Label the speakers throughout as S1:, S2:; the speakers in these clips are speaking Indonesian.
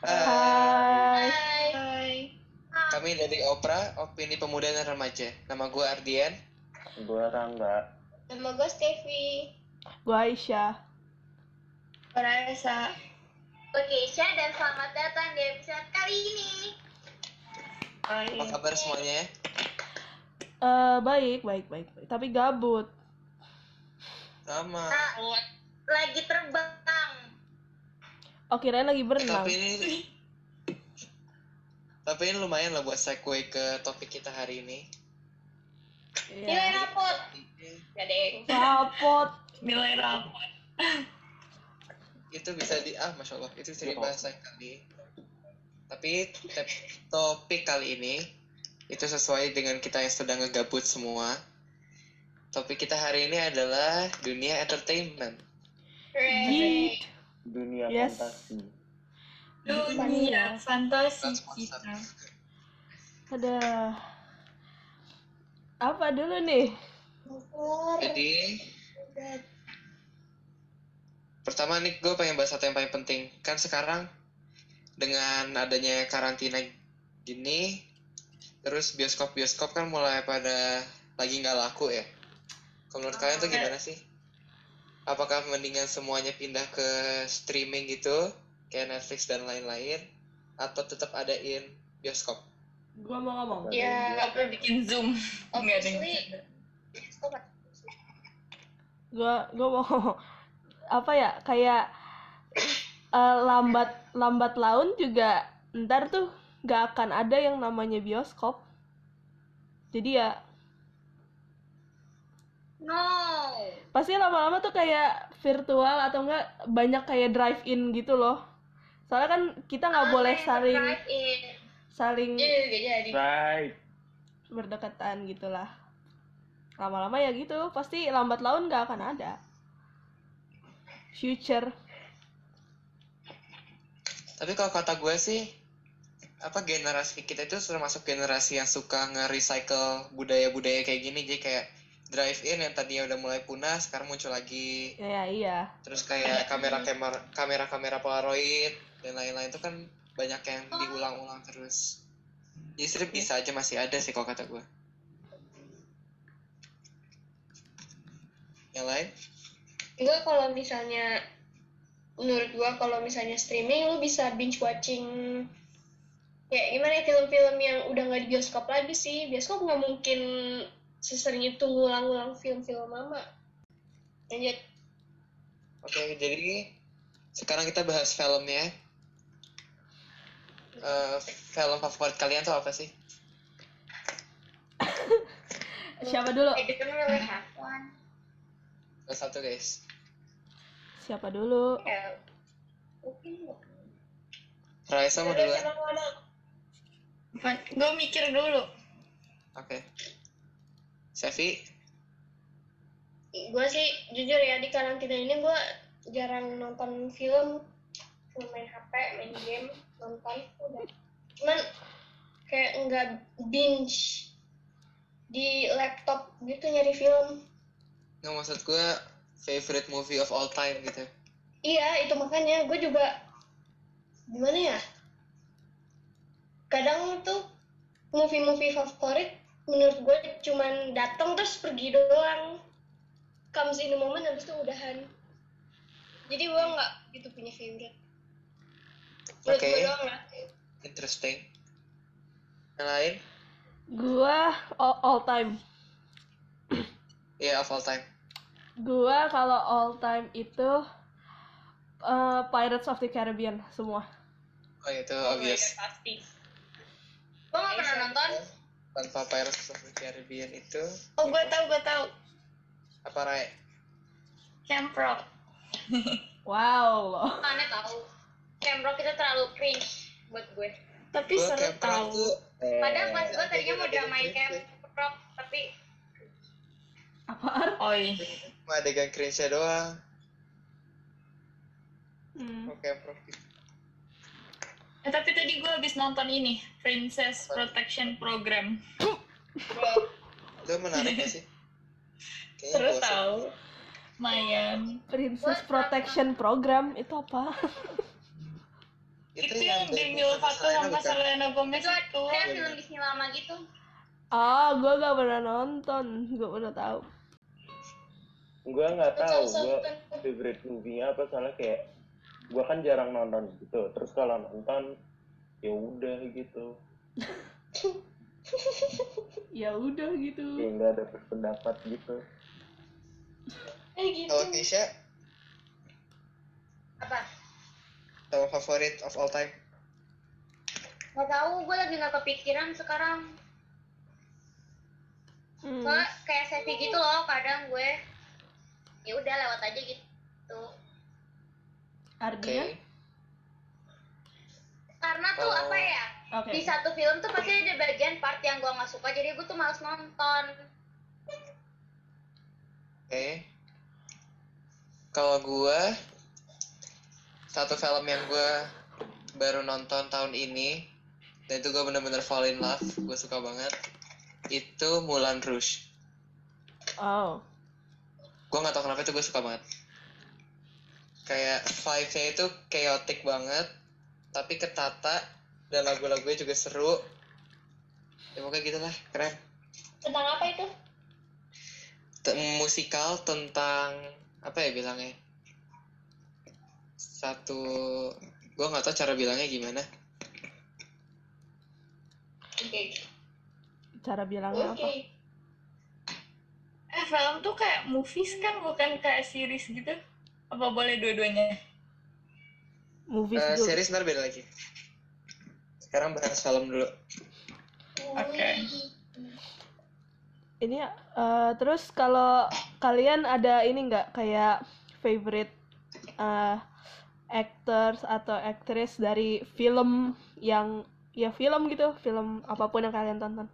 S1: Eh,
S2: Ah,
S1: kami dari Opra, Opini Pemuda dan Remaja. Nama gue Ardian.
S3: Gue Rangga.
S2: Nama gue Stevie.
S4: Gue Aisyah.
S5: Gue Raisa.
S2: Gue Keisha dan selamat datang di episode kali ini.
S1: Apa kabar semuanya?
S4: Eh baik, baik, baik, baik. Tapi gabut.
S1: Sama.
S2: Nah, lagi terbang.
S4: Oh, kirain lagi
S1: Eh,
S4: berenang.
S1: Tapi ini tapi ini lumayan lah buat segue ke topik kita hari ini.
S5: Ya.
S2: Nilai
S4: Iya.
S2: rapot. Gak deh.
S4: Rapot.
S5: Nilai rapor.
S1: Itu bisa di ah masya Allah itu bisa dibahas lain kali. Tapi tep- topik kali ini itu sesuai dengan kita yang sedang ngegabut semua. Topik kita hari ini adalah dunia entertainment.
S5: Iya.
S2: Hooray.
S4: Yeet.
S3: Dunia
S4: Yes.
S3: fantasi.
S4: Iya.
S5: Dunia fantasi
S1: Trans-
S5: kita.
S4: Ada apa dulu nih?
S1: Jadi
S5: Iya.
S1: pertama nih gue pengen bahas satu yang paling penting kan sekarang dengan adanya karantina gini terus bioskop bioskop kan mulai pada lagi nggak laku ya kalau menurut kalian tuh gimana sih apakah mendingan semuanya pindah ke streaming gitu kayak Netflix dan lain-lain atau tetap adain bioskop
S4: Gua mau ngomong.
S5: Gak Iya, perlu bikin zoom. Enggak ada yang
S2: Obviously.
S5: bercanda.
S4: Gua gua mau ngomong. apa ya? Kayak eh, lambat lambat laun juga ntar tuh gak akan ada yang namanya bioskop. Jadi ya
S2: No.
S4: pasti lama-lama tuh kayak virtual atau enggak banyak kayak drive in gitu loh soalnya kan kita
S6: Ah,
S4: nggak boleh saling
S2: Drive in.
S4: saling
S5: Ah, Iya, gak jadi.
S3: Right.
S4: berdekatan gitulah lama-lama ya gitu pasti lambat laun nggak akan ada future
S1: Tapi kalau kata gue sih, apa generasi kita itu termasuk generasi yang suka nge-recycle budaya-budaya kayak gini, jadi kayak drive-in yang tadinya udah mulai punah, sekarang muncul lagi.
S4: ya iya
S1: Terus kayak kamera-kamera kamera-kamera Polaroid dan lain-lain itu kan banyak yang diulang-ulang terus. Jadi sebenarnya bisa aja masih ada sih kalau kata gue. Yang lain?
S6: Gue kalau misalnya menurut gua kalau misalnya streaming lu bisa binge watching kayak gimana ya, film-film yang udah nggak di bioskop lagi sih bioskop nggak mungkin sesering itu ngulang-ngulang film-film lama lanjut
S1: Oke, jadi sekarang kita bahas filmnya. Eh, film favorit kalian tuh apa sih?
S4: siapa
S5: Oh.
S4: dulu
S6: Eh,
S2: I don't really have one.
S1: Nomor satu guys.
S4: siapa dulu
S2: Ya, Mungkin
S1: Raisa mau duluan. Oke.
S5: Gue mikir dulu.
S1: Sevi,
S6: gue sih jujur ya di karantina ini gue jarang nonton film cuma main hp main game nonton udah cuman kayak nggak binge di laptop gitu nyari film
S1: nggak maksud gue favorite movie of all time gitu.
S6: iya itu makanya gue juga gimana ya kadang tuh movie-movie favorit menurut gue cuman datang terus pergi doang comes in the moment habis itu udahan jadi gue
S5: Hmm.
S6: nggak gitu punya favorite menurut
S1: Oke.
S6: gue doang ya. lah
S1: Interesting. Yang lain?
S4: gua all, all time
S1: Iya of all time.
S4: gua kalau all time itu eh, Pirates of the Caribbean semua
S1: Oh itu obvious.
S6: iya.
S5: Pasti.
S2: Gue gak pernah
S5: Iya,
S2: nonton.
S1: Tanpa Pirates of the Caribbean itu
S5: Oh, gue tau, gue tau.
S1: apa Rai?
S5: Camp Rock.
S4: wow loh
S2: Aneh tahu. Camp Rock itu terlalu cringe buat gue.
S5: Tapi
S1: Gue
S5: seru
S1: Camp Rock
S5: tau.
S1: tuh. eh,
S2: Padahal pas gue tadinya mau
S1: adegan-adegan
S2: dramain Camp
S1: cringe-nya-
S2: Rock, tapi
S4: apaan
S5: Oi.
S1: cuma Adegan cringe doang.
S4: Hmm.
S1: Oke, Bro.
S5: Eh, tapi tadi gue habis nonton ini. Princess Protection Program.
S1: Itu menarik gak sih? Kayaknya
S5: Seru
S1: bosen.
S5: tau. Mayan.
S4: Princess Protection Program itu apa
S5: Itu, yang Demi Lovato sama Selena Gomez
S2: Itu
S5: itu.
S2: ada film Disney lama gitu.
S4: Ah, gue gak pernah nonton, gak pernah tahu.
S3: Gue nggak
S6: Bukan
S3: tahu, gue
S6: sultan.
S2: kan-
S3: favorite movie-nya apa soalnya kayak gue kan jarang nonton gitu. Terus kalau nonton ya udah gitu.
S4: Ya udah gitu.
S3: Kayak nggak ada pendapat gitu.
S6: Eh gitu.
S1: Kalau Keisha,
S2: Apa?
S1: sama favorit of all time.
S2: Gak tahu, gue lagi gak kepikiran sekarang.
S4: Hmm.
S2: Soalnya kayak sesi gitu loh, kadang gue ya udah lewat aja gitu.
S5: Iya.
S4: Artinya?
S1: Oke.
S2: Karena tuh
S1: Oh.
S2: apa ya?
S4: Oke.
S2: Di satu film tuh pasti ada bagian part yang gue gak suka, jadi gue tuh males nonton.
S1: Oke. Kalau gue, satu film yang gue baru nonton tahun ini, dan itu gue bener-bener fall in love, gue suka banget, itu Mulan Rouge.
S4: Oh.
S1: Gue gak tau kenapa itu gue suka banget. Kayak vibe-nya itu chaotic banget, tapi ketata, dan lagu-lagunya juga seru. Ya pokoknya gitu lah, keren.
S6: Tentang apa itu?
S1: te- musikal tentang apa ya bilangnya satu gue nggak tahu cara bilangnya gimana
S6: Oke.
S4: Cara bilangnya apa?
S6: Oke.
S5: Eh, film tuh kayak movies kan, bukan kayak series gitu. Apa boleh dua-duanya?
S4: Movies
S1: Eh,
S4: dulu.
S1: series ntar beda lagi sekarang bahas film dulu
S5: Oke.
S4: Ini eh, terus kalau kalian ada ini nggak kayak favorite eh, actors atau aktris dari film yang ya film gitu, film apapun yang kalian tonton.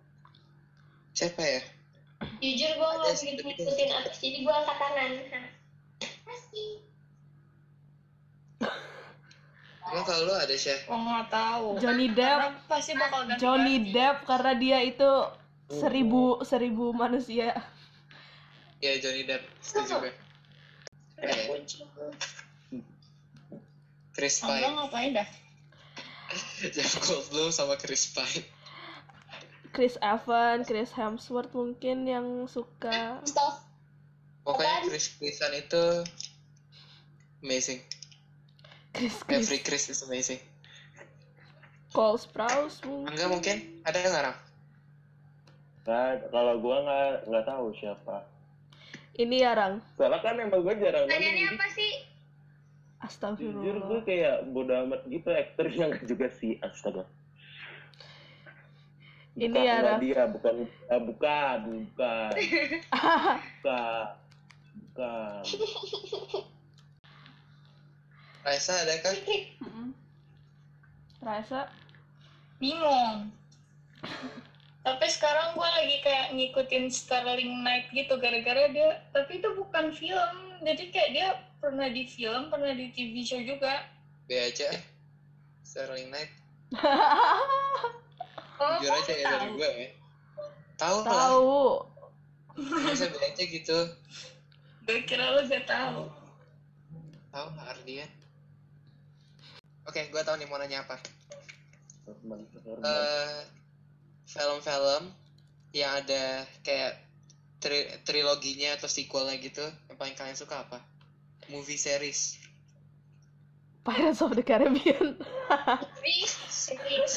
S1: siapa ya
S6: Jujur gue
S1: Ada
S6: nggak
S1: sih, tapi-
S6: begitu ngikutin artis, jadi gue angkat tangan. Nah. Pasti.
S1: emang kalau lu ada sih
S5: Gue nggak tahu.
S4: Johnny Depp,
S5: Karena pasti bakal ganti.
S4: Johnny Depp karena dia itu seribu seribu manusia.
S1: ya Johnny Depp setuju gue Oke, Chris
S5: Enggak
S1: Pine
S5: ngapain dah?
S1: Jeff Goldblum sama Chris Pine
S4: Chris Evans, Chris Hemsworth mungkin yang suka.
S6: Stop.
S1: pokoknya
S6: Apaan?
S1: Chris Chrisan itu amazing
S4: Chris Chris
S1: every Chris is amazing
S4: Cole Sprouse mungkin.
S1: Angga mungkin ada yang ngarang
S3: Nah, kalau gue nggak nggak tahu siapa.
S4: Ini ya Rang.
S3: Soalnya kan emang gue jarang nonton. gitu.
S2: Pertanyaannya
S3: jadi
S2: apa sih?
S3: Jujur gue
S4: Astagfirullah.
S3: kayak bodo amat gitu aktor yang juga si astaga.
S4: Ini
S3: Bukan,
S4: ya,
S3: nggak
S4: Raf.
S3: dia bukan eh, bukan bukan bukan bukan
S1: Raisa ada kan
S4: Mm-mm. Raisa
S5: Bingung. Tapi sekarang gue lagi kayak ngikutin Starling Night gitu gara-gara dia. Tapi itu bukan film. Jadi kayak dia pernah di film, pernah di TV show juga.
S1: B aja Sterling Knight
S5: Oh,
S1: jujur aja ya dari gue ya tahu lah
S4: tahu.
S1: bisa bilang aja gitu
S5: Gue kira lo gak tahu.
S1: tahu lah Ardian oke gue tahu nih mau nanya apa
S3: Norman, Norman.
S1: Eh, film-film yang ada kayak tri- triloginya atau sequelnya gitu yang paling kalian suka apa movie series
S4: Pirates of the Caribbean.
S6: Series. Series.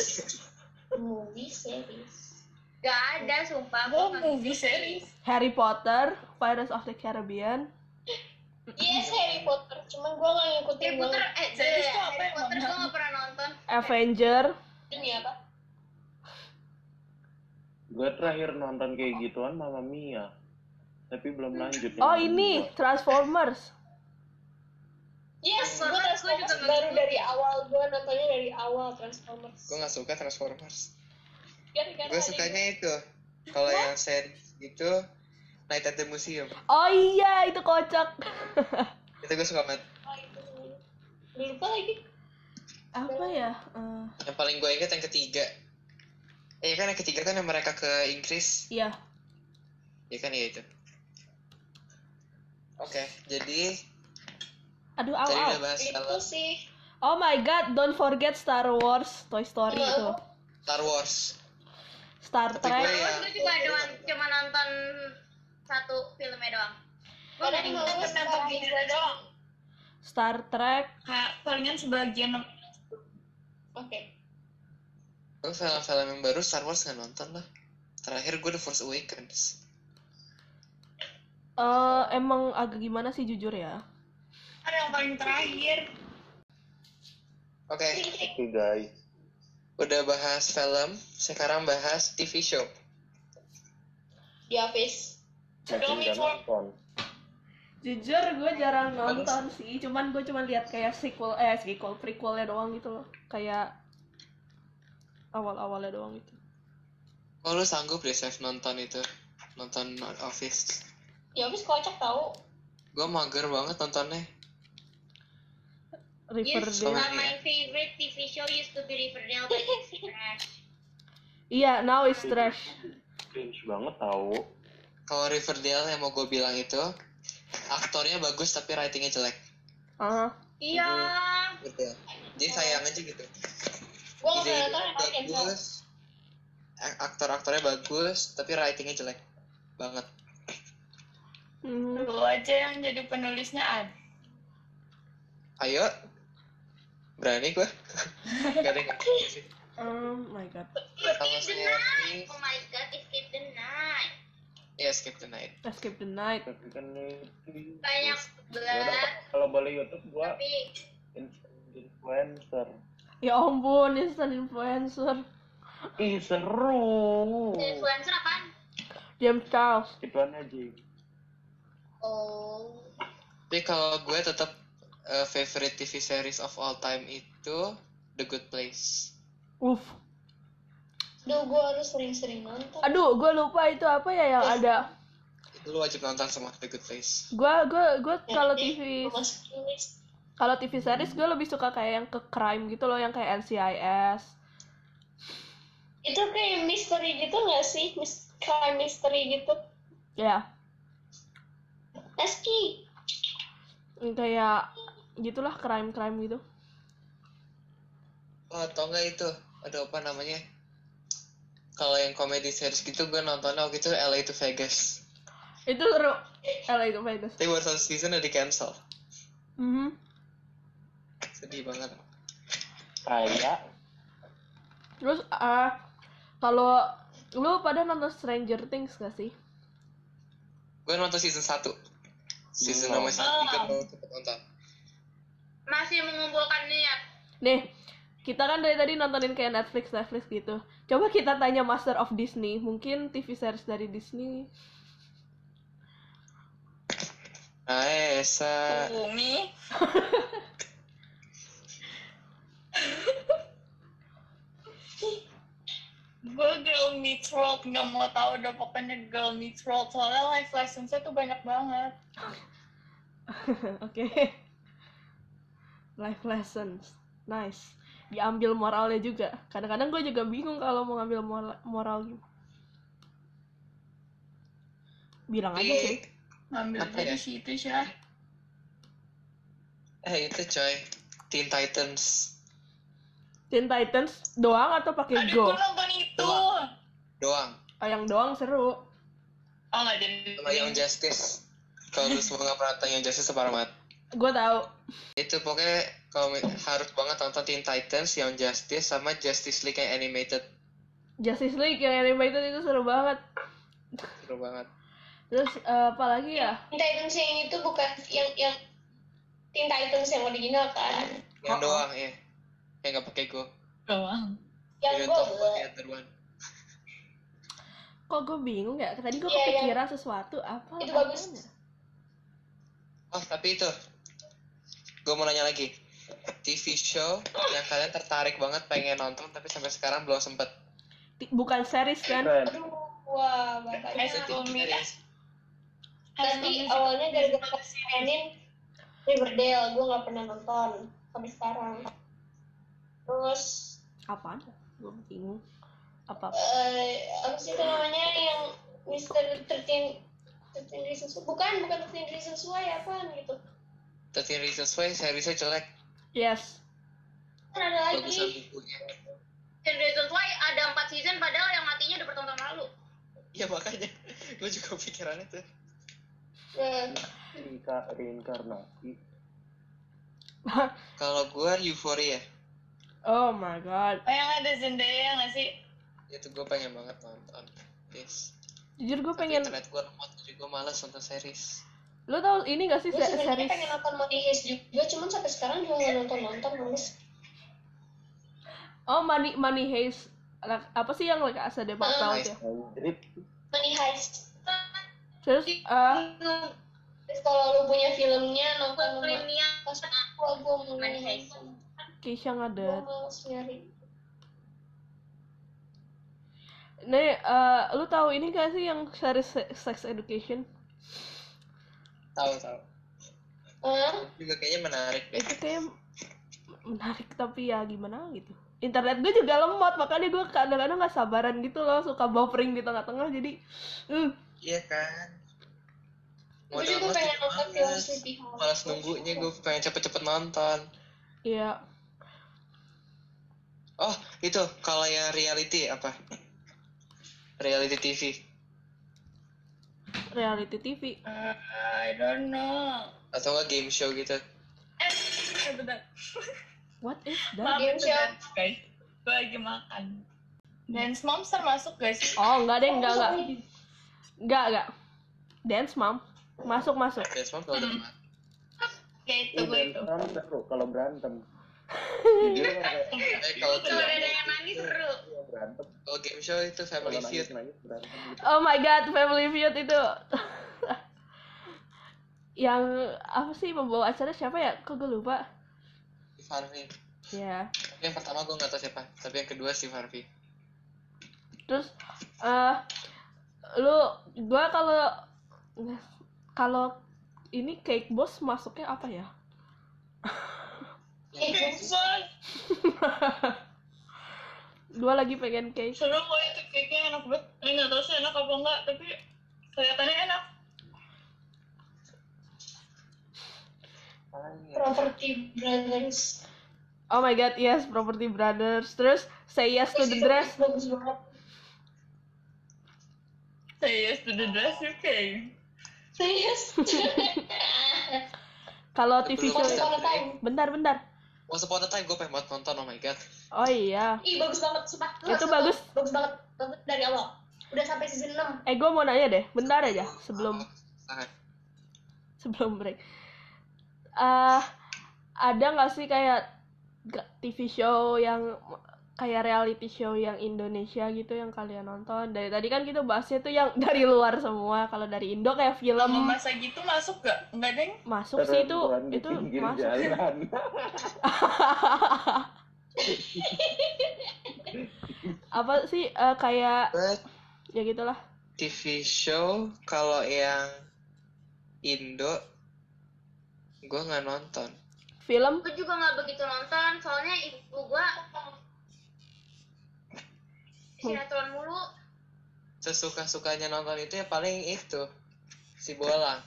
S6: Movie series.
S2: Gak ada, sumpah.
S5: Gue
S2: Gua
S6: Oh,
S2: nggak-
S5: movie series.
S4: Harry Potter, Pirates of the Caribbean.
S6: Yes, Harry Potter. Cuman gue nggak ngikutin.
S2: Iya, Harry Potter, eh,
S5: Series
S2: Harry
S5: tuh apa yang
S2: Potter
S5: mana?
S2: gue gak pernah nonton.
S4: Avenger.
S6: Ini apa?
S3: Gue terakhir nonton kayak gituan Mama Mia. Tapi belum lanjut.
S4: Oh
S3: nonton
S4: ini
S3: gua.
S4: Transformers.
S6: Yes,
S2: Transformers, gua
S6: gue
S2: juga
S6: Transformers
S2: nggak
S6: baru
S2: ngikutin.
S6: dari awal. Gue nontonnya dari awal Transformers.
S1: gue nggak suka Transformers
S6: Gara-gara
S1: gue
S6: Iya, ada
S1: sukanya itu kalau yang series gitu Night at the Museum
S4: Oh iya itu kocak.
S1: itu gue suka banget
S6: yang- oh, itu. Gua Lupa lagi.
S4: Apa ya? Eh,
S1: yang paling gue inget yang ketiga eh kan yang ketiga kan yang mereka ke Inggris
S4: Iya.
S1: ya kan ya itu oke jadi
S4: Aduh
S1: tadi udah
S4: awal.
S1: bahas
S6: Oh, Itu
S2: Gitu
S1: film
S6: sih.
S4: Oh my god, don't forget Star Wars, Toy Story itu.
S1: Star Wars.
S4: Star
S1: Tapi
S4: Trek.
S6: Iya,
S1: gue ya.
S2: Gue cuma doang, cuma nonton satu filmnya doang.
S5: Gue
S6: Padahal gue
S5: nonton nonton
S6: sekarang
S5: video doang.
S4: Star Trek.
S5: Kayak palingan sebagian. Oke.
S1: Gue film-film yang baru Star Wars nggak nonton lah. Terakhir gue The Force Awakens.
S4: eh emang agak gimana sih jujur ya?
S5: Ada yang paling terakhir.
S1: Oke,
S3: Oke guys,
S1: udah bahas film, sekarang bahas TV show.
S6: di office
S3: masih
S5: Dongeng
S3: nggak
S5: for-
S3: nonton.
S4: Jujur gue jarang nonton sih, cuman gue cuman lihat kayak sequel eh sequel prequelnya doang gitu loh, kayak awal-awalnya doang gitu.
S1: Oh lu sanggup deh Chef nonton itu, nonton Office.
S6: di office kocak tau
S1: Gue mager banget nontonnya.
S2: Used to
S4: Riverdale.
S1: Sama-
S2: not my favorite TV show used to be Riverdale, but it's trash.
S4: Iya, now it's trash.
S3: Cringe banget tau.
S1: Kalau Riverdale yang mau gue bilang itu, aktornya bagus tapi writingnya jelek.
S4: Ah,
S2: Iya.
S1: Gitu. Jadi sayang aja gitu.
S6: gue nggak pernah
S1: Ide
S6: nonton emang cancel
S2: gitu.
S1: bagus, ak- aktor-aktornya bagus tapi writingnya jelek banget.
S4: hmm.
S5: Lu aja yang jadi penulisnya Ad.
S1: Ayo, berani gue. Gak ada yang ngerti sih.
S4: Oh my god.
S1: Sama
S2: Escape the night.
S1: Series.
S2: Oh my god, escape the night.
S1: Ya skip the night.
S4: Escape the night.
S3: Tapi kan ini-
S2: Banyak
S3: Ya udah,
S2: banget.
S3: kalau boleh YouTube gua
S2: Tapi
S3: influencer.
S4: Ya ampun, instant influencer.
S3: Ih
S6: Oh.
S3: seru.
S2: influencer apaan?
S4: James Charles.
S3: Iklan aja.
S6: oh
S1: Tapi kalau gue tetap uh, favorite TV series of all time itu The Good Place.
S4: Uff.
S6: duh gue harus sering-sering nonton
S4: Aduh, gue lupa itu apa ya yang ada.
S1: Itu lu wajib nonton semua The Good Place.
S4: Gue gue gue kalau TV
S6: Iya, Gua masukin list.
S4: kalau TV series gue lebih suka kayak yang ke crime gitu loh, yang kayak NCIS.
S6: itu kayak misteri gitu nggak sih Mis- kayak misteri gitu
S4: Ya,
S6: Eski
S4: yang kayak gitulah crime-crime gitu.
S1: Oh, atau enggak itu? Ada apa namanya? Kalau yang komedi series gitu gue nontonnya waktu itu LA to Vegas.
S4: Itu seru. LA itu Vegas.
S1: Tapi baru satu season udah di cancel.
S4: Mhm.
S1: Sedih banget.
S3: Kayak
S4: Terus eh kalau lu pada nonton Stranger Things gak sih?
S1: Gue nonton season 1. Season
S3: Belum.
S1: nomor 3 gue tetap nonton.
S2: Masih mengumpulkan niat.
S4: Nih, kita kan dari tadi nontonin kayak Netflix Netflix gitu. Coba kita tanya Master of Disney, mungkin TV series dari Disney.
S1: Nah, Esa.
S5: Bumi. gue girl meets world nggak mau tahu udah pokoknya girl meets world soalnya life lessons-nya tuh banyak banget
S4: Oke. Life lessons. Nice. Diambil moralnya juga. Kadang-kadang gue juga bingung kalau mau ngambil moral, moral gitu. Bilang aja sih.
S1: Tapi,
S5: ngambil
S1: Apa
S5: dari
S1: ya?
S5: situ sih
S1: eh itu coy. Teen Titans
S4: Teen Titans doang atau pakai Go?
S5: Aduh, gue nonton itu. Oh,
S1: doang.
S4: Oh, yang doang seru.
S5: nggak jadi.
S1: Sama
S6: Iya.
S1: Young Justice. Kalau lu semua nggak pernah nonton Young Justice separah mat.
S4: Gue tahu.
S1: Itu pokoknya kalau mi- harus banget nonton Teen Titans, Young Justice, sama Justice League yang animated.
S4: Justice League yang animated itu seru banget.
S1: Seru banget.
S4: Terus eh, apa lagi ya?
S6: Teen Titans yang itu bukan yang yang Teen Titans yang original
S4: Iya.
S6: kan
S1: Yang doang ya. Yang nggak pakai Go.
S5: Doang.
S4: Iya,
S6: yang
S1: Yang
S6: gue
S1: top one, the other one.
S4: Kok gue bingung ya? Tadi gue
S6: Iya,
S4: kepikiran sesuatu apa?
S6: Itu bagus.
S4: apanya?
S1: Oh tapi itu. Gue mau nanya lagi. TV show yang kalian tertarik banget pengen nonton tapi sampai sekarang belum sempet.
S4: Ti- Bukan series kan?
S3: keren.
S6: aduh wah bapaknya
S5: High School Musical.
S2: uh,
S6: tapi awalnya
S2: Iya,
S6: gara-gara Senin Riverdale gue nggak pernah nonton sampai sekarang terus
S4: Apaan? Gue bingung. Apa?
S6: eh apa sih itu namanya yang Mister Tertin Tertin Reasons Why- bukan bukan Tertin Reasons Why apaan gitu
S1: Tapi Reasons Why seriesnya jelek.
S4: Yes.
S6: Kan ada
S1: bagusan
S6: lagi
S1: bukunya
S2: Saturday Night Live ada 4 season padahal yang matinya udah bertahun-tahun lalu.
S1: ya makanya gue juga pikirannya tuh
S6: nah,
S3: Reinka- reinkarnasi
S1: kalau gue euforia
S4: oh my god
S5: Oh yang ada Zendaya nggak sih?
S1: Ya, itu gue pengen banget nonton yes.
S4: jujur gue
S1: pengen
S4: pengen
S1: internet gue remote jadi gue malas nonton series
S4: lu tau ini gak sih
S6: gue
S4: se-
S6: sebenarnya
S4: series
S6: pengen nonton Money Heist juga cuman sampai sekarang juga nggak nonton nonton males
S4: oh money money heist Anak- apa sih yang like asa depak
S6: Money
S4: tahu
S1: Heist.
S4: ya
S3: Anjrit
S6: Money Heist
S4: terus eh
S6: Terus kalau lu punya filmnya nonton sama-
S2: Premium
S6: pas gua gua mau
S2: Money Heist.
S6: nonton.
S4: Keisha
S6: gua
S4: ngadet
S6: mau nyari
S4: nih eh, lu tahu ini gak sih yang series se- sex education
S1: tahu tahu
S6: Hah?
S1: juga kayaknya menarik deh
S4: itu kayak menarik tapi ya gimana gitu internet gue juga lemot makanya gue kadang-kadang nggak sabaran gitu loh suka buffering di tengah-tengah jadi hmm,
S1: iya kan
S6: gue juga pengen nonton film Sleepy Hollow
S1: malas nunggunya gue pengen cepet-cepet nonton
S4: ya
S1: oh itu kalau yang reality apa reality TV
S4: reality TV
S5: Uh, I don't know.
S1: atau enggak game show gitu
S5: Eh bentar.
S4: what is
S5: Maaf
S4: that
S5: itu
S6: Siap.
S5: dance guys. Gue lagi makan. Dance Monster masuk guys.
S4: oh nggak deh nggak nggak nggak nggak dance mom masuk masuk
S1: Dance Mom kalau udah
S5: Hmm.
S1: mati.
S5: Kayak itu
S3: Ih,
S5: gue itu.
S3: berantem seru kalau berantem jujur kan kayak
S1: Eh, kalau
S2: Kalau ada yang nangis seru.
S3: kalau berantem
S1: kalau game show itu
S3: kalau
S1: family
S3: nangis
S1: feud
S3: nangis berantem gitu
S4: oh my god family feud itu yang apa sih membawa acara siapa ya kok gue lupa
S1: Steve Harvey
S4: ya
S1: Tapi yang pertama gue nggak tahu siapa tapi yang kedua Steve Harvey
S4: terus eh lu gua kalau kalau ini cake boss masuknya apa ya
S6: Iya, kan?
S5: Kayak boy.
S4: gua lagi pengen cake
S5: Seru gue itu cake-nya enak banget. Ini nggak tahu sih enak apa enggak, tapi kelihatannya enak.
S6: Property Brothers
S4: oh my god yes property brothers terus say yes to the dress
S6: bagus banget
S5: Say yes to the dress you pay.
S6: serius
S4: kalau tv
S6: Once
S4: show
S6: upon a time
S4: bentar bentar
S1: Once Upon a Time gue pengen banget nonton oh my god
S4: oh iya
S6: ih bagus banget sumpah Lu
S4: Itu
S6: harus
S4: bagus.
S6: nonton. bagus banget bagus dari awal udah sampai season 6
S4: eh gua mau nanya deh bentar aja sebelum
S1: sangat
S4: sebelum break eh ada nggak sih kayak ga- TV show yang kayak reality show yang Indonesia gitu yang kalian nonton dari tadi kan kita bahasnya tuh yang dari luar semua kalau dari Indo kayak
S5: Kalau
S4: film
S5: masa gitu masuk gak? Enggak deng.
S4: masuk sih itu
S3: Perempuan di
S4: itu
S3: pinggir
S4: masuk sih.
S3: jalan
S4: apa sih eh, kayak
S1: But
S4: ya gitulah
S1: TV show kalau yang Indo gue nggak nonton
S4: film
S2: Gue juga nggak begitu nonton, soalnya ibu gua sinetron mulu.
S1: sesuka sukanya nonton itu ya paling itu si bolang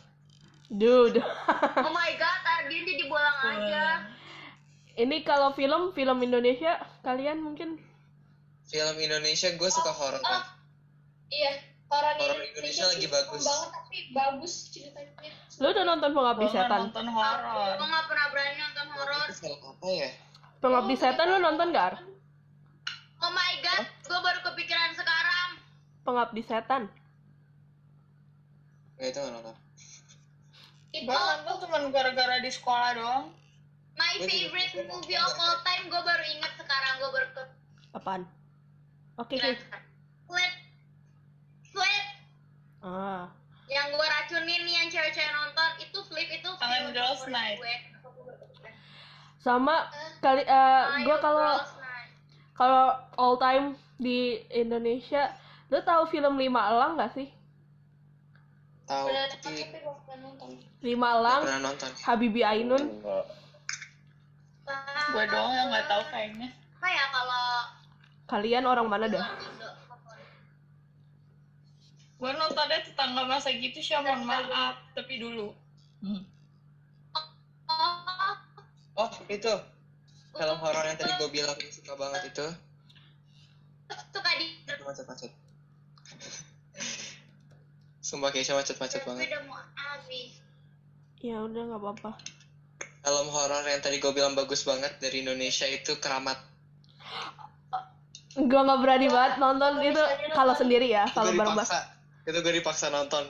S4: dude
S2: Oh my god, Ardian jadi bolang aja.
S4: ini kalau film film Indonesia kalian mungkin
S1: film Indonesia gue suka horor
S6: oh. iya orang
S1: Horor Indonesia lagi bagus.
S6: banget tapi bagus ceritanya
S4: lu udah nonton Pengabdi
S5: Gue
S4: Setan
S5: nonton
S2: Gue
S5: horor.
S2: nggak pernah berani nonton horor.
S1: itu film apa ya
S4: Pengabdi Setan lu nonton gak Ar?
S2: Oh my god, gue baru kepikiran sekarang.
S4: Pengabdi Setan
S1: nggak itu nggak nonton
S2: Iya.
S6: itu
S5: Gue nonton cuma gara-gara di sekolah doang.
S2: My
S1: Gua juga
S2: favorite
S1: kepikiran
S2: movie of all time, gue baru inget sekarang. Gue baru kepikiran
S4: apaan oke
S6: Ya.
S4: oke.
S2: sekarang. Flip, flip,
S4: ah
S2: yang gue racunin yang cewek-cewek nonton itu flip itu.
S5: Tangan
S2: film
S5: Girls
S2: favorit
S5: Night.
S2: gue.
S4: sama kali eh
S2: Ayo,
S4: gue kalau
S2: Girls Night.
S4: kalau all time di Indonesia lu tahu film Lima Elang gak sih
S1: tahu
S6: udah nonton
S1: tapi
S6: tapi gua pernah nonton
S4: Lima
S1: nggak
S4: Elang
S1: pernah nonton
S4: Habibie Ainun
S3: Enggak.
S5: Gue doang yang nggak tahu kayaknya.
S2: apa ya kalau
S4: kalian orang mana dah
S2: Indo favorit?
S5: Gue nontonnya tetangga masa gitu sih, mohon maaf. Tapi dulu.
S2: Oh,
S1: oh itu film horor yang tadi gue bilang suka banget itu
S2: suka di
S1: Aduh, macet-macet sumpah Keisha macet-macet
S2: gue Oh,
S1: banget
S2: udah mau habis
S4: ya udah nggak apa-apa
S1: film horor yang tadi gue bilang bagus banget dari Indonesia itu keramat
S4: gue nggak berani banget nonton
S6: kalau
S4: itu
S6: misalnya
S4: kalau
S6: nonton-
S4: sendiri ya
S1: Itu
S4: kalau
S1: gua
S4: bareng
S1: dipaksa itu gue dipaksa nonton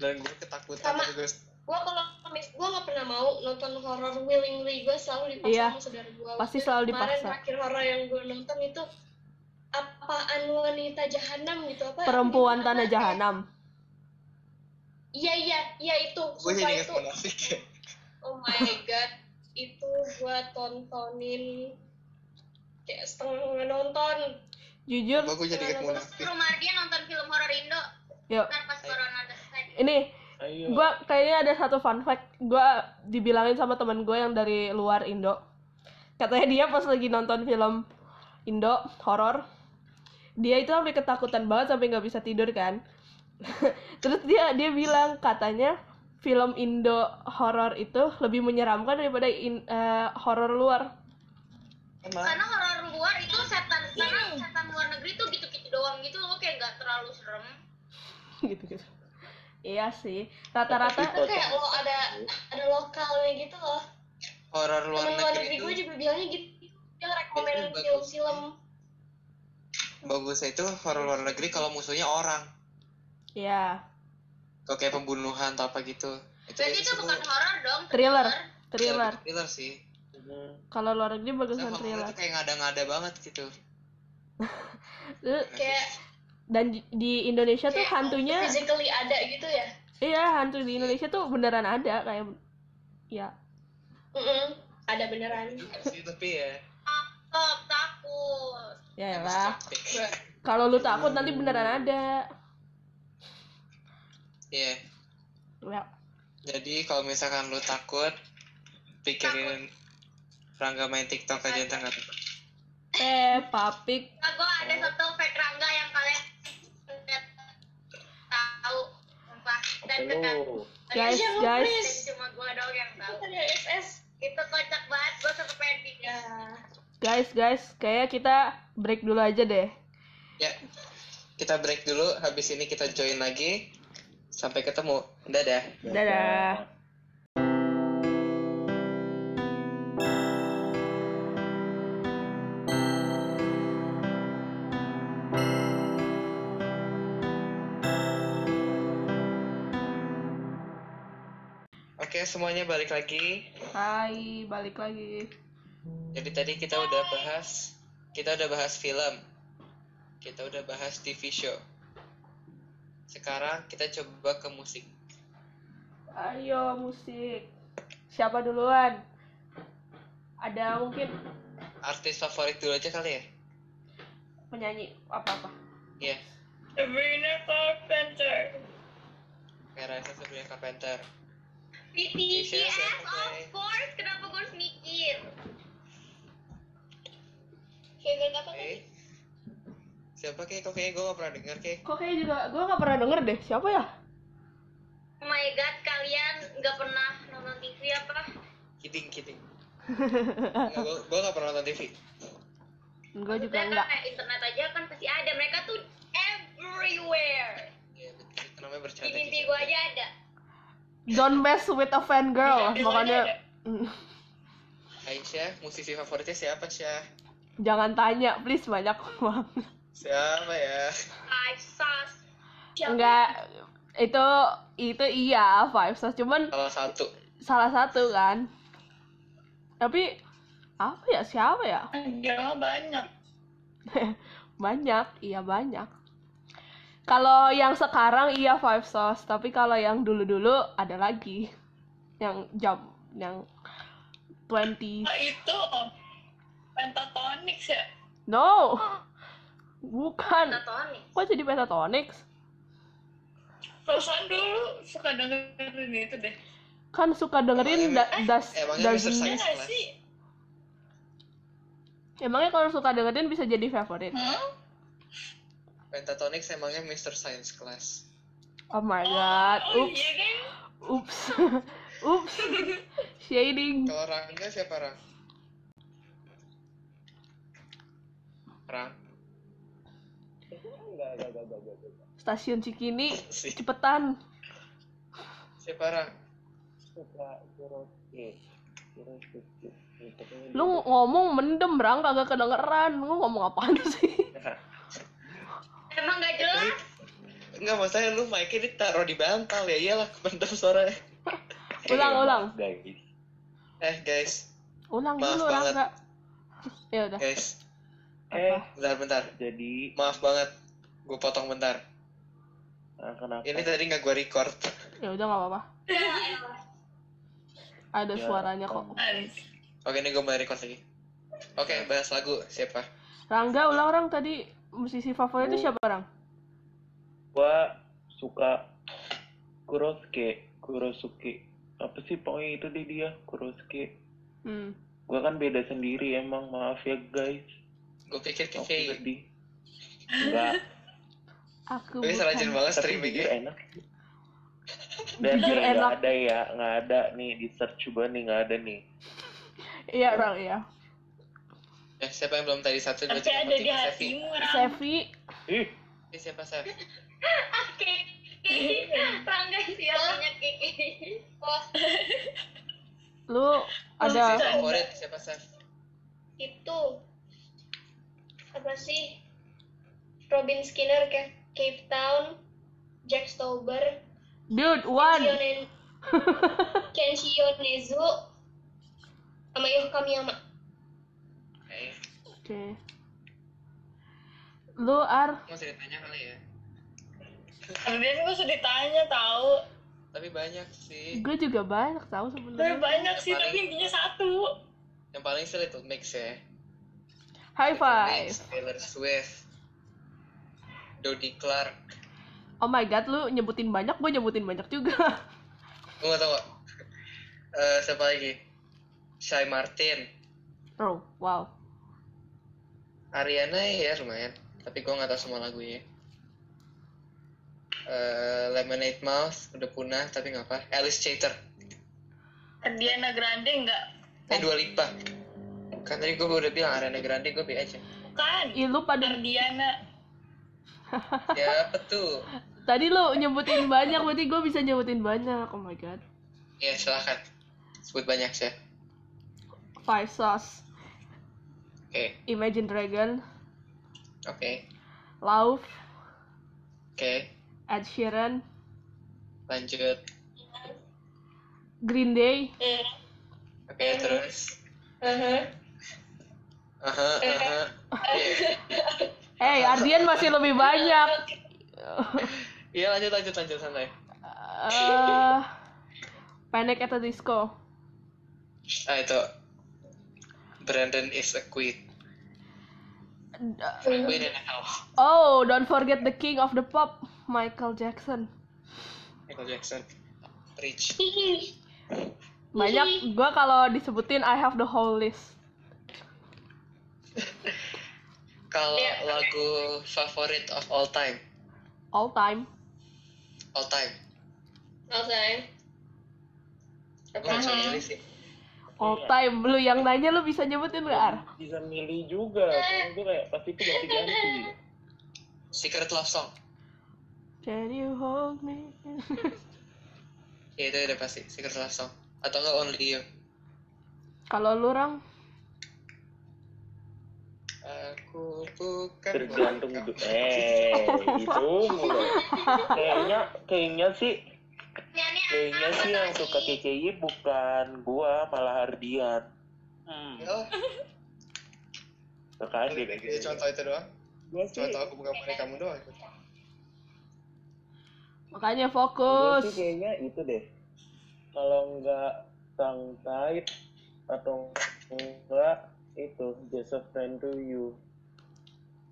S1: dan gue ketakutan
S6: Sama.
S1: tapi gua-
S6: Gua kalau mis gua nggak pernah mau nonton horor willingly, gua selalu dipaksa
S4: Iya.
S6: sama saudara gua.
S4: pasti selalu
S6: Kemarin
S4: dipaksa
S6: terakhir horor yang gua nonton itu apaan wanita jahanam gitu apa?
S4: perempuan
S6: Gimana?
S4: tanah jahanam
S6: Iya iya iya itu.
S1: gue
S6: Sumpah
S1: jadi
S6: itu.
S1: inget munafik ya.
S6: Oh my god, itu gua tontonin kayak setengah nonton.
S4: jujur
S1: Sumpah, gue jadi inget
S6: Terus
S2: terus
S1: munafik
S2: rumah dia nonton film horor Indo
S4: yuk
S6: kan
S2: ntar pas corona udah selesai
S4: ini
S3: Ayo.
S4: gue kayaknya ada satu fun fact gue dibilangin sama temen gue yang dari luar Indo katanya dia pas lagi nonton film Indo horor dia itu sampai ketakutan banget sampai nggak bisa tidur kan terus dia dia bilang katanya film Indo horor itu lebih menyeramkan daripada in- eh, horor luar
S1: emang
S2: karena horor luar itu setan karena setan luar negeri tuh gitu-gitu doang gitu loh kayak nggak terlalu serem
S4: gitu gitu iya sih
S3: Tapi
S4: rata-rata
S3: kalau
S6: Kayak lo ada ada lokalnya gitu loh.
S1: horor luar
S6: Temen luar negeri
S1: negeri
S6: gue
S1: itu
S6: juga bilangnya gitu. Dia rekomen
S1: Bagus.
S6: film-film
S1: bagusnya itu horor luar negeri kalau musuhnya orang
S4: ya
S1: kalau kayak pembunuhan atau apa gitu itu
S2: berarti itu
S1: seru.
S2: bukan
S6: gitu.
S2: horor dong
S4: thriller
S1: Iya,
S4: thriller
S1: lebih thriller sih
S3: Mhm.
S4: kalau luar negeri
S1: Saya
S4: bagusan
S1: horor
S4: thriller
S1: itu kayak ngada-ngada banget gitu
S4: Lu-
S6: kayak
S4: Eh, dan di- di Indonesia tuh
S6: kayak
S4: hantunya
S6: physically ada gitu ya.
S4: iya hantu di Indonesia tuh beneran ada kayak ya
S6: Mm-mm. Ada beneran.
S1: Juga sih tapi ya
S2: takut takut
S4: ya
S1: emang
S4: lah
S1: sakit.
S4: kalau lu takut nanti beneran ada
S1: Iya.
S4: ya
S1: Jadi kalau misalkan lu takut, pikirin Rangga main TikTok aja ntar nggak takut.
S4: eh papik
S2: nah, gue ada
S6: Oh.
S2: satu fake rangga yang kalian nggak tahu sumpah dan ketat
S3: Halo.
S4: guys
S6: Jangan,
S4: guys
S6: please.
S2: cuma gue doang yang tahu
S6: Ada SS.
S2: itu kocak banget gue suka pengen bikin
S6: Ya.
S4: guys guys kayak kita break dulu aja deh
S1: Ya. Kita break dulu, habis ini kita join lagi. Sampai ketemu. Dadah.
S4: dadah
S1: Oke, semuanya balik lagi.
S4: hai balik lagi
S1: Jadi tadi kita udah bahas, kita udah bahas film. Kita udah bahas TV show. Sekarang kita coba ke musik.
S4: ayo musik siapa duluan ada mungkin
S1: Artis favorit dulu aja kali ya?
S4: penyanyi apa apa
S1: Iya.
S5: Sabrina Carpenter.
S1: Kayak Raisa Sabrina Carpenter.
S2: BTS of course kenapa gue harus mikir
S6: Kayak apa
S1: Oke. Siapa kek? Kok kayaknya gue gak pernah denger kek.
S4: kok kayak juga gue nggak pernah denger deh siapa ya
S2: oh my god kalian nggak pernah nonton TV apa
S1: Kidding, kidding. Nggak, gue, gue gak pernah nonton TV.
S4: gue juga
S2: Maksudnya
S4: enggak
S2: kan kayak internet aja kan pasti ada mereka tuh everywhere
S1: Iya, betul. Itu namanya
S2: di
S1: bercanda.
S2: mimpi
S1: gitu.
S2: gue aja ada
S4: don't mess with a fan girl
S5: Iya,
S4: makanya
S1: Aisyah, musisi favoritnya siapa, Syah?
S4: jangan tanya please banyak uang
S1: Siapa ya?
S2: five stars
S4: enggak itu itu iya five stars cuman
S1: Salah satu.
S4: salah satu kan tapi apa ya siapa ya
S5: Ada Iya, banyak.
S4: banyak iya banyak kalau yang sekarang iya five stars tapi kalau yang dulu dulu ada lagi yang jam yang 20
S5: Ah, itu oh, Pentatonix ya.
S4: no bukan
S2: Tatonik
S4: kok jadi pentatonics
S5: Perasaan dulu suka dengerin itu deh.
S4: kan suka dengerin
S1: Emangnya- eh,
S4: da- das
S1: emangnya
S4: das-
S1: Mr. Science
S5: Iya nggak
S1: Class?
S5: sih?
S4: emangnya kalau suka dengerin bisa jadi favorit
S5: Hmm?
S1: Pentatonix emangnya Mr. Science Class.
S4: oh my god
S5: Oh
S4: oops
S5: iya kan?
S4: oops oops shading
S1: Kalau Rangga siapa, Rang? Rang.
S3: Enggak, enggak, enggak, enggak, enggak. enggak.
S4: Stasiun Cikini,
S1: Si-
S4: cepetan.
S1: Siapa Rang?
S3: Suka Kurosuke. Kurosuke. Itu kan dia.
S4: Lu ngomong mendem, Rang, kagak kedengeran. Lu ngomong apaan sih?
S2: Emang gak jelas?
S1: Enggak, masalahnya lu mic-nya ditaruh di bantal ya. Iyalah, kebendam suaranya.
S4: Ulang,
S3: Eh,
S4: ulang.
S3: maaf, guys.
S1: Eh, guys.
S4: Ulang
S1: Maaf
S4: dulu,
S1: banget.
S4: Rangga. Ya udah.
S1: Guys,
S3: Eh,
S1: bentar, bentar.
S3: jadi
S1: Maaf banget. Gue potong bentar.
S3: ah, kenapa?
S1: Ini tadi nggak gue record.
S4: Ya udah nggak apa-apa. Ada
S3: Ya,
S4: suaranya kok.
S3: um,
S5: Hans.
S1: Oke, ini gue mulai record lagi. Oke, bahas lagu. Siapa?
S4: Rangga ulang orang tadi musisi favorit
S3: Oh.
S4: itu siapa orang?
S3: gua suka Kurosuke. Kurosuke. Apa sih pokoknya itu deh dia, Kurosuke.
S4: Hmm.
S3: Gua kan beda sendiri emang, maaf ya guys.
S1: Gue pikir
S3: Aku
S1: Kiki.
S3: sedih. Enggak.
S4: Aku
S1: Gue salah banget ya.
S4: bukan.
S3: tapi jujur
S1: streamingnya.
S3: enak dan
S4: Jujur
S3: nih, nggak
S4: enak.
S3: ada ya nggak ada nih di search coba nih nggak ada nih
S4: Iya orang ya.
S1: Eh, siapa yang belum tadi? Satu, dua,
S5: Tapi
S1: tiga,
S5: ada
S1: empat,
S5: di
S1: lima, Sevi.
S5: hatimu, Rang.
S4: Sevi,
S3: ih
S1: Eh, siapa, Sef?
S5: Iya.
S2: Oke. Rangga sih yang punya Kiki. Oh,
S4: lu ada
S5: Ada.
S1: Favorit, siapa, Sef?
S6: itu apa sih Robin Skinner Ca- Cape Town Jack Stauber
S4: dude
S6: Iya,
S4: one.
S6: Shonen- Kenshi Yonezu sama Yoh Kamiyama
S1: Eh,
S4: Oke. Lu Ar,
S1: mau ceritanya kali ya?
S5: Kemudian gue sudah ditanya tahu.
S1: Tapi banyak sih.
S4: gue juga banyak tahu
S5: Gue
S4: sebenarnya.
S5: banyak sih tapi intinya satu.
S1: Yang paling sih Little Mix ya.
S4: High
S1: Little
S4: five.
S1: Mix, Taylor Swift. Dodi Clark.
S4: Oh my god, lu nyebutin banyak, gue nyebutin banyak juga.
S1: Gue gak tau kok. Eh, siapa lagi? Shai Martin.
S4: Bro, wow.
S1: Ariana ya lumayan. Tapi gue gak tau semua lagunya. Eh, Lemonade Mouth udah punah tapi nggak apa Alice Chater
S5: Diana Grande enggak?
S1: eh Dua Lipa kan tadi gue udah bilang Ariana Grande gue B aja
S5: Bukan.
S4: Ih, lu pada
S5: Ardiana.
S1: ya apa tuh
S4: tadi lu nyebutin banyak, berarti gue bisa nyebutin banyak. Oh my god.
S1: ya silahkan sebut banyak sih
S4: Five Sauce,
S1: oke
S4: Imagine Dragon,
S1: oke
S4: Lauf,
S1: oke
S4: Ed Sheeran,
S1: lanjut
S4: Green Day,
S1: oke terus aha aha
S4: Eh, Ardian masih lebih banyak.
S1: iya lanjut lanjut lanjut santai
S4: eh Panic at the Disco,
S1: ah itu Brandon is a queen queen in hell
S4: Oh, don't forget the king of the pop, Michael Jackson.
S1: Michael Jackson Rich
S4: Banyak gua kalau disebutin I have the whole list.
S1: kalau lagu favorit of all time
S4: All time.
S1: all time
S6: all time
S1: gue nggak
S6: Nah,
S1: bisa milih sih
S4: All time. Lu yang nanya lu bisa nyebutin gak, Ar?
S3: bisa milih juga Karena gue kayak pasti itu ganti ganti
S1: Secret Love Song
S4: Can you hold me?
S1: ya itu udah pasti Secret Love Song atau enggak Only You
S4: kalau lu orang
S1: aku bukan
S3: tergantung
S1: orang.
S3: du- eh itu mulu kayaknya kayaknya sih
S2: nyanyi
S3: kayaknya sih yang suka KKI bukan gua malah Ardian
S1: Ya lah,
S3: Sukaan dia kayak
S1: ya
S3: gitu.
S1: contoh itu doang
S3: Gua sih
S1: contoh aku bukan boleh kamu doang
S4: makanya
S3: Gue Iya sih
S4: fokus.
S3: kayaknya itu deh. Kalau nggak Sang Tide atau enggak itu Just a Friend to You.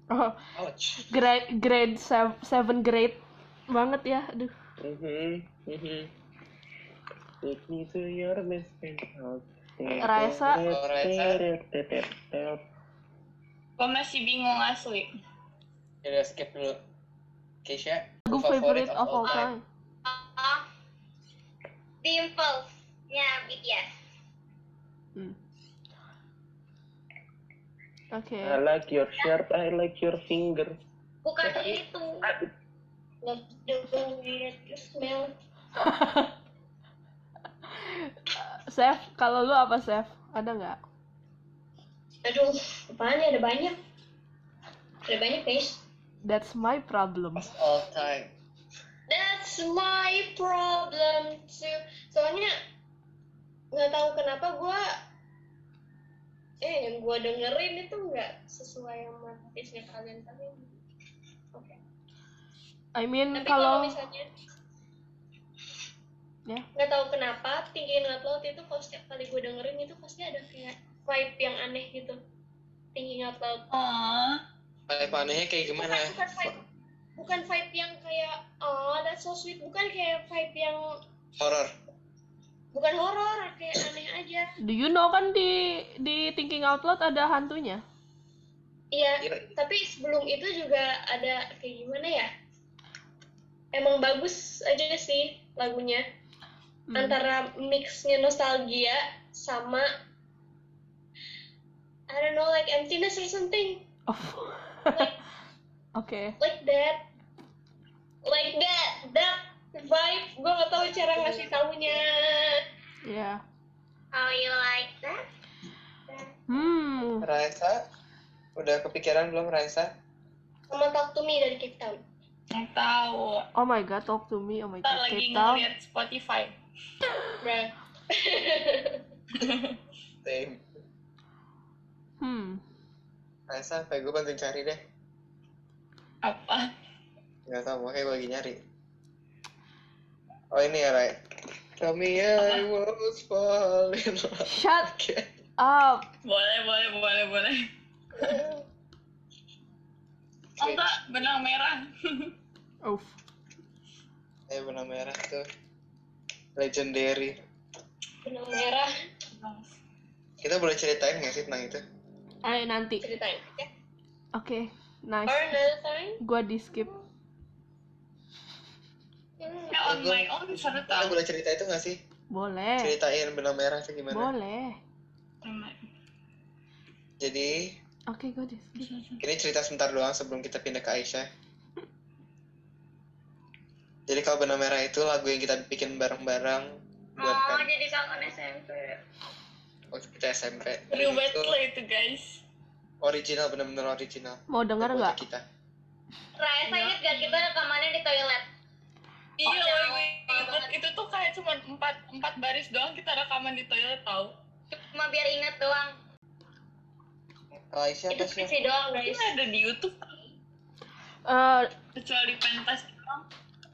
S4: Oh,
S1: ouch
S4: grade grade sev- seven grade banget ya. Aduh.
S3: Mhm, mhm. Take me to your basement house.
S4: Raisa.
S1: Oh, Raisa.
S5: Gue masih bingung asli.
S1: Ya udah skip dulu. Keisha,
S4: Lagu favorite of all time.
S6: Oh.
S2: Dimples. Ya, BTS.
S4: Hmm. Oke.
S3: I like your shirt, I like your finger.
S2: Bukan itu.
S6: Love the way you smell.
S4: Chef, kalau lu apa Chef? Ada nggak?
S6: Aduh, apaan ya? Ada banyak. Ada banyak, guys.
S4: That's my problem.
S1: all time.
S6: That's my problem too. Soalnya nggak tahu kenapa gua eh yang gua dengerin itu nggak sesuai sama taste-nya kalian kalian. Oke.
S4: I mean
S6: Tapi kalau
S4: Hmm, kalau
S6: misalnya
S4: Ya.
S6: nggak tahu kenapa tinggiin laut laut itu kalau setiap kali gue dengerin itu pasti ada kayak vibe yang aneh gitu tinggiin laut laut
S5: Oh,
S1: Paling anehnya kayak gimana? ya?
S6: bukan, bukan vibe bukan vibe yang kayak oh that's so sweet bukan kayak vibe yang
S1: Horor.
S6: bukan horor kayak aneh aja
S4: do you know kan di di Thinking Out Loud ada hantunya?
S6: iya
S1: Iya.
S6: tapi sebelum itu juga ada kayak gimana ya emang bagus aja sih lagunya
S4: Hmm.
S6: antara mixnya nostalgia sama I don't know like emptiness or something
S4: Oh. Oke.
S6: like that like that that vibe gue gak tahu cara ngasih tahunya
S4: Ya.
S2: How you like that?
S4: Hmm.
S1: Raisa, udah kepikiran belum Raisa?
S6: sama Talk to Me dari Cape Town
S5: nggak tahu.
S4: Oh my god, talk to me. Oh my
S5: Kita
S4: god,
S5: lagi
S4: Cape Town.
S5: ngeliat Spotify.
S6: Bruh.
S1: Same.
S4: Hmm.
S1: Raisa, apa gue bantuin cari deh.
S5: Apa?
S1: Gak tau, makanya gue lagi nyari. Oh ini ya, Rai. Tell me I was falling in love.
S4: Shut up.
S5: Boleh, boleh, boleh, boleh. Oh, enggak, benang merah.
S4: Oof.
S1: Eh, benang merah tuh. Legendary.
S6: benang merah
S1: Kita boleh ceritain gak sih tentang itu?
S4: Ayo nanti.
S6: ceritain ya
S4: Oke,
S6: or
S4: nice.
S6: another time
S4: Gua di skip.
S6: Hmm.
S5: Eh, on my own seru
S1: Kita
S5: tau.
S1: boleh cerita itu gak sih?
S4: Boleh.
S1: Ceritain benang merah itu gimana?
S4: Eh. Boleh.
S1: Jadi,
S4: Oke, gua di skip.
S1: Ini cerita sebentar doang sebelum kita pindah ke Aisyah. Jadi kalau benang merah itu lagu yang kita bikin bareng-bareng buat
S2: Oh,
S4: iya.
S1: kan
S2: jadi kangen SMP.
S1: waktu kita SMP.
S5: Seru banget
S1: Itu
S5: lah itu, guys.
S1: original bener-bener original.
S4: Mau denger
S1: Buat
S4: nggak?
S1: Kita.
S2: Raisa inget gak kita rekamannya di toilet?
S5: Iya,
S2: Oh,
S5: woy,
S2: ya.
S5: woy, ingat. itu tuh kayak cuma empat empat baris doang kita rekaman di toilet tau.
S2: Cuma biar inget doang.
S1: Kalau Aisyah
S6: itu
S1: apa sih?
S6: puisi doang
S5: Ini
S6: guys
S5: ada di YouTube
S4: Eh,
S5: kecuali pentas doang.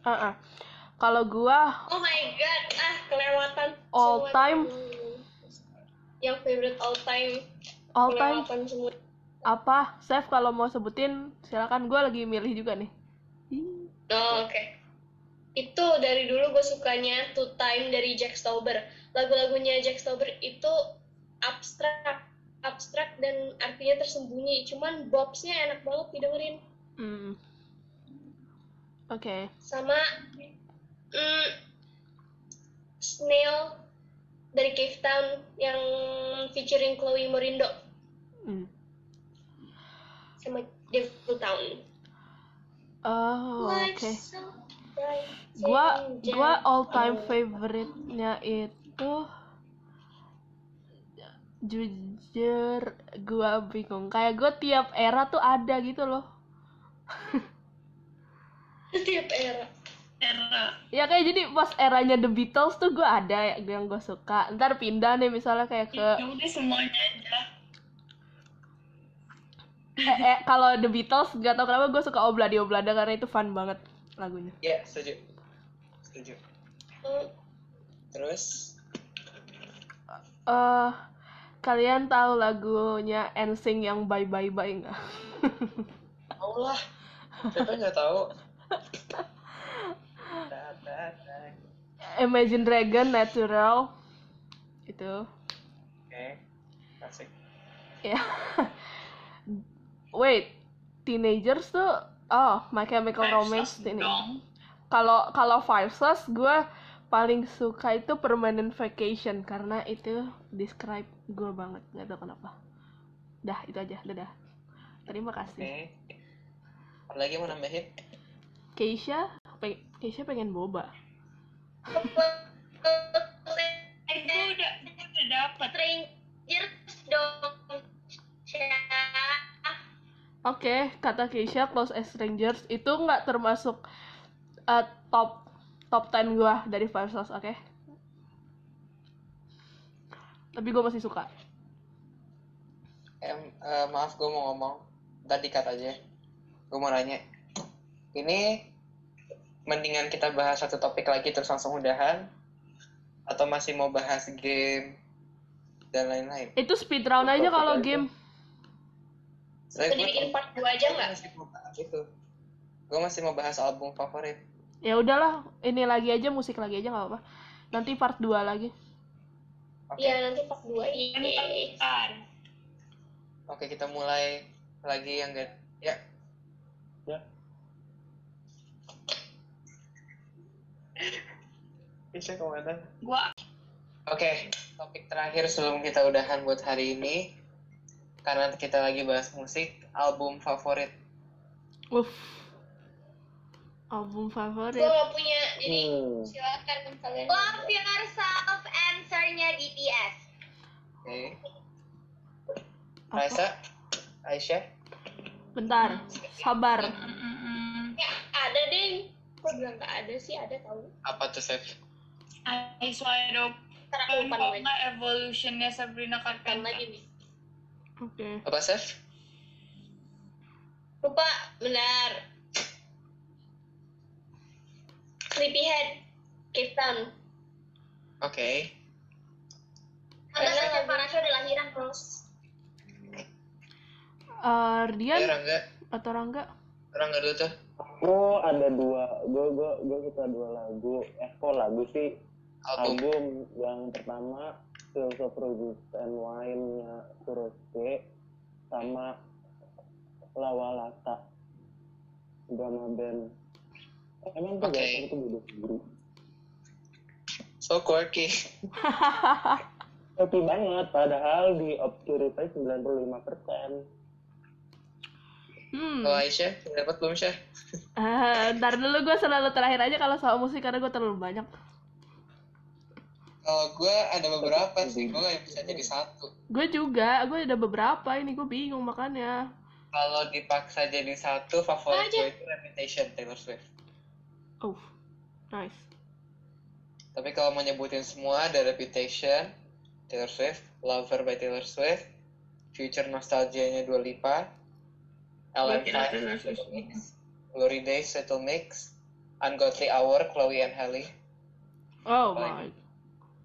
S4: uh-uh. Kalau gua
S6: oh my god ah kelewatan
S4: All
S6: Semua.
S4: time.
S6: Hmm. yang favorite all time
S4: all time
S6: kelewatan semua
S4: apa? Chef kalau mau sebutin silakan gua lagi milih juga nih. Ih,
S6: Oh, oke. Itu dari dulu gue sukanya Two Time dari Jack Stauber. Lagu-lagunya Jack Stauber itu abstrak, abstrak dan artinya tersembunyi. Cuman bobsnya enak banget didengerin.
S4: Hmm. Oke.
S6: Sama mm, Snail dari Cave Town yang featuring Chloe Morindo
S4: Hmm.
S6: sama Devil Town.
S4: Oh, oke.
S6: Life's so bright,
S4: Gua
S6: changing.
S4: gua all time favorite-nya itu jujur gua bingung kayak gue tiap era tuh ada gitu loh
S6: Setiap era.
S5: Era.
S4: ya kayak jadi pas eranya The Beatles tuh gue ada ya- yang gue suka ntar pindah nih misalnya kayak ke
S5: Ya udah semuanya aja.
S4: eh, eh, kalau The Beatles gak tau kenapa gue suka Obladi Oblada karena itu fun banget lagunya
S6: Iya,
S1: Ya, setuju. Setuju.
S6: Mm,
S1: Terus
S4: eh kalian tahu lagunya NSYNC yang Bye Bye Bye nggak
S1: tahu lah. Siapa nggak tahu?
S4: Imagine Dragon Natural itu
S1: Oke. Asik.
S4: ya wait teenagers tuh oh My Chemical Romance
S5: Versus
S4: ini
S5: dong.
S4: kalau kalau Five Stars gue paling suka itu Permanent Vacation karena itu describe gue banget nggak tau kenapa Dah, itu aja. Dadah. Terima kasih.
S1: Oke. Ada lagi mau nambahin?
S4: Keisha, pe- Keisha pengen boba.
S6: oh,
S5: Eh, gue udah, gue udah dapet.
S2: Strangers dong. Syah.
S4: Oke, kata Keisha Close as Strangers itu nggak termasuk eh, top top 10 gua dari Fire Sauce, oke? Tapi gua masih suka.
S1: Em, eh, maaf gue mau ngomong. Tadi kata aja. Gue mau nanya. Ini mendingan kita bahas satu topik lagi terus langsung udahan atau masih mau bahas game dan lain-lain?
S4: Itu speed round
S3: Betul,
S4: aja
S3: betul,
S4: kalau
S3: betul.
S4: game.
S1: Soalnya
S6: Kita
S1: gua-
S6: dibikin part 2 aja
S1: gua
S6: nggak?
S1: masih mau bahas itu. Gue masih mau bahas album favorit.
S4: Ya udahlah, ini lagi aja musik lagi aja nggak apa-apa. Nanti part 2 lagi.
S1: Oke.
S6: Iya nanti part 2
S5: Kan
S6: Iya
S5: bentar.
S1: Oke, kita mulai lagi yang gak... Ya,
S3: Ya.
S1: bisa komentar.
S5: Gue
S1: Oke, topik terakhir sebelum kita udahan buat hari ini. Karena kita lagi bahas musik, album favorit.
S4: Uff. Album
S6: Gue
S4: favorit.
S6: gak punya jadi
S3: Hmm.
S6: silakan kalian.
S2: Love yourself answernya BTS.
S1: Oke.
S4: Apa?
S1: Raisa, Aisyah,
S4: Bentar, sabar.
S6: Ya, ada deh. Kok bilang gak ada sih? Ada tau.
S1: apa tuh Sef?
S5: I swear to
S6: Ntar aku
S5: God,
S6: umpan
S5: kok
S6: lagi.
S5: nggak evolutionnya Sabrina
S6: Umpan
S5: Carpenter?
S6: lagi nih.
S4: Oke.
S1: Apa Sef?
S6: Lupa, benar. Sleepyhead, Cape Town.
S1: Oke.
S2: Ada
S6: Karena
S2: saja
S6: lagu-
S2: Parasha udah lahiran terus.
S4: Eh,
S1: Ya,
S4: Rian
S1: Rangga,
S4: atau Rangga?
S1: Rangga dulu tuh.
S3: Gue ada dua, gue gue gue suka dua lagu. Eh kok lagu sih?
S1: Album.
S3: Album yang pertama Tales of Roses and Wine-nya Kurosuke sama Lawalata drama band. Eh, Emang tuh
S1: Oke.
S3: okay. itu beda sendiri.
S1: So quirky.
S3: Tapi banget, padahal di Obscurify 95
S4: Hmm.
S1: Kalau Aisyah, dapat belum Syah?
S4: Ah, ntar dulu gue selalu terakhir aja kalau soal musik karena gue terlalu banyak.
S1: Kalau gue ada beberapa sih, gue nggak bisa jadi satu.
S4: Gue juga, gue ada beberapa ini gue bingung makanya.
S1: Kalau dipaksa jadi satu, favorit gue itu Reputation Taylor Swift.
S4: Oh, nice.
S1: Tapi kalau mau nyebutin semua, ada Reputation, Taylor Swift, Lover by Taylor Swift, Future Nostalgia-nya Dua Lipa, LM5,
S5: Berarti Taylor Swift.
S1: Little Mix, Glory Days, Little Mix, Ungodly Hour, Chloe and Halle.
S4: Oh
S1: Apalagi?
S4: my.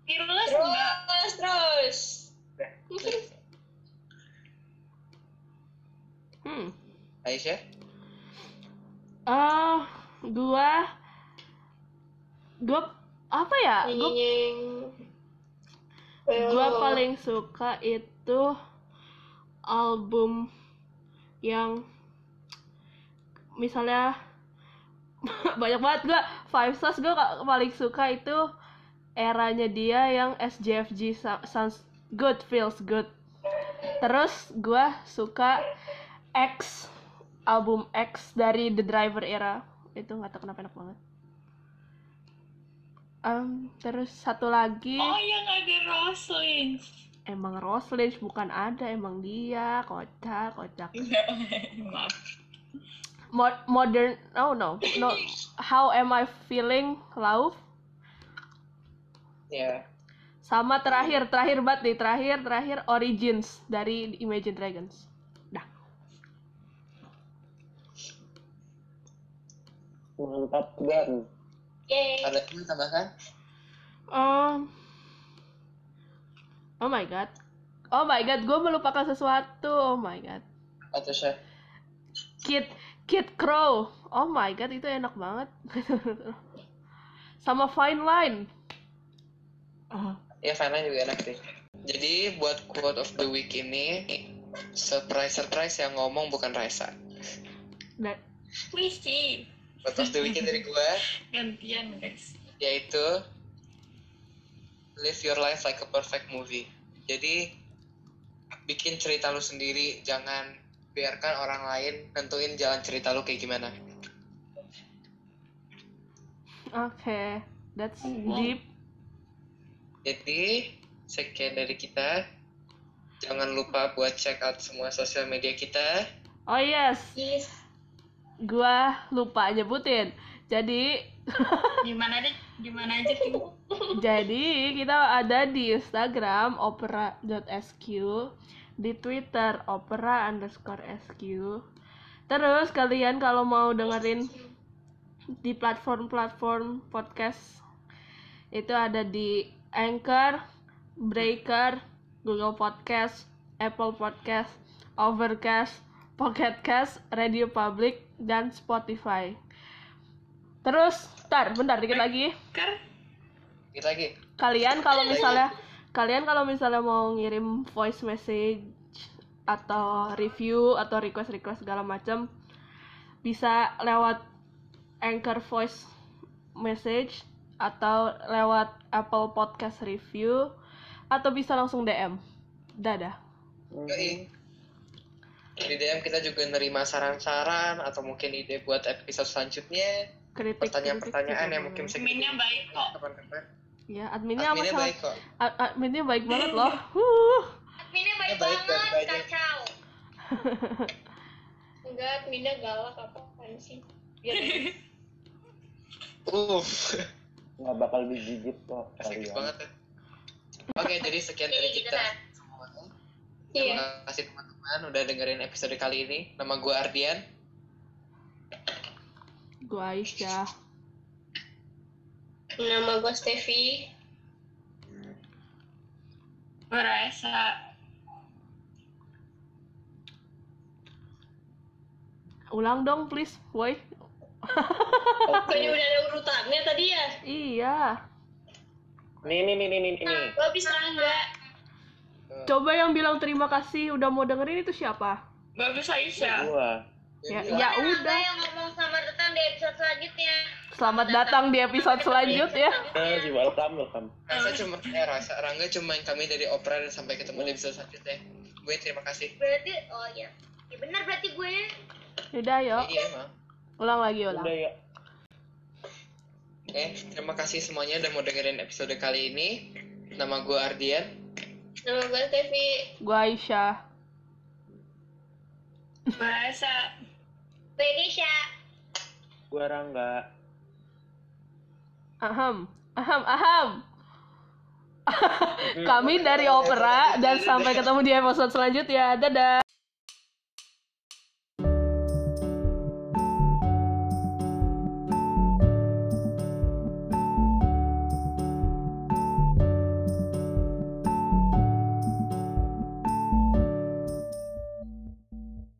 S5: Fearless nggak?
S6: Terus, terus.
S4: Hmm.
S1: Aisyah?
S4: Ah, gua gua apa ya? Gua
S6: Nyinying.
S4: gua paling suka itu album yang misalnya banyak banget gua Five Stars gua ka- paling suka itu eranya dia yang SJFG so- sounds good feels good terus gua suka X album X dari The Driver era itu nggak tahu kenapa enak banget Em, terus satu lagi
S5: Oh, yang ada Rosling.
S4: emang Roslyn bukan ada emang dia kocak kocak
S5: Maaf.
S4: Mo- modern oh no no how am I feeling love
S1: Ya.
S4: sama terakhir terakhir banget nih terakhir terakhir origins dari Imagine Dragons dah
S3: Mantap dan
S6: Yeay.
S1: Ada yang mau tambahkan?
S4: Um, oh my god oh my god gue melupakan sesuatu oh my god
S1: Atau Syah?
S4: Kid Kid Crow oh my god itu enak banget sama Fine Line Ah.
S1: Ya, Fana juga enak sih. Jadi, buat quote of the week ini, surprise-surprise yang ngomong bukan Raisa.
S4: dan
S5: Wisi.
S1: Quote of the week dari gue,
S5: Gantian, guys.
S1: yaitu live your life like a perfect movie. Jadi bikin cerita lu sendiri jangan biarkan orang lain nentuin jalan cerita lu kayak gimana
S4: Okay, that's deep.
S1: jadi sekian dari kita jangan lupa buat check out semua sosial media kita
S4: Oh yes,
S6: Yes.
S4: gua lupa nyebutin. Jadi,
S5: Gimana deh? Gimana aja tim?
S4: jadi kita ada di Instagram opera.sq, di Twitter opera underscore sq. Terus kalian kalau mau dengerin di platform-platform podcast itu ada di Anchor, Breaker, Google Podcast, Apple Podcast, Overcast, Pocket Cast, Radio Public, dan Spotify. Terus, tar, bentar dikit lagi.
S5: Ker?
S1: kita lagi
S4: Kalian kalau misalnya kalian kalau misalnya mau ngirim voice message atau review atau request-request segala macam bisa lewat Anchor Voice Message atau lewat Apple Podcast Review atau bisa langsung DM. Dadah.
S1: Yoi. di DM kita juga nerima saran-saran atau mungkin ide buat episode selanjutnya
S4: Kritik.
S1: pertanyaan-pertanyaan yang mungkin bisa
S5: Minnya baik kok.
S1: kapan-kapan
S4: Ya, adminnya
S1: adminnya
S4: sama
S1: baik kok
S4: ad- adminnya baik banget loh. Huh.
S2: Adminnya baik,
S1: Baik, baik,
S2: banget,
S1: baik.
S2: kacau.
S6: Enggak, Minda galak apaan sih?
S1: uh
S3: nggak bakal digigit kok
S1: efektif
S3: kalian
S1: banget ya oke jadi sekian dari
S2: Jadi gitu
S1: kita
S2: dah.
S1: semuanya
S6: Iya.
S1: Terima kasih teman-teman udah dengerin episode kali ini. Nama gue Ardian.
S4: Gua Aisyah.
S2: Iya.
S6: Nama gue Steffi.
S5: Berasa.
S4: Ulang dong please, boy.
S6: Bukannya udah ada urutannya tadi ya?
S4: Iya.
S3: nih nih nih nih nih nih
S6: Gue bisa enggak?
S4: Coba yang bilang terima kasih udah mau dengerin itu siapa?
S5: Bagus Aisyah.
S3: gua
S4: Ya,
S1: Jadi,
S4: ya
S2: Karena
S4: udah.
S2: yang ngomong sama Retan di episode selanjutnya.
S4: Selamat datang di episode selanjutnya.
S3: Eh, di welcome welcome
S1: Rasa cuma eh, rasa Rangga cuma kami dari Opera dan sampai ketemu di episode selanjutnya. Gue terima kasih.
S2: Berarti, oh ya. Ya benar berarti gue.
S4: Udah yuk,
S1: Iya emang.
S4: ulang lagi ulang.
S3: udah ya
S1: Oke, Eh, terima kasih semuanya udah mau dengerin episode kali ini. Nama gue Ardian.
S6: Nama gue Steffi.
S4: Gua Aisyah.
S5: Berasa.
S2: Gue Nisha.
S3: gua Rangga
S4: Aham, aham, aham. Kami dari Opera dan sampai ketemu di episode selanjutnya. Dadah.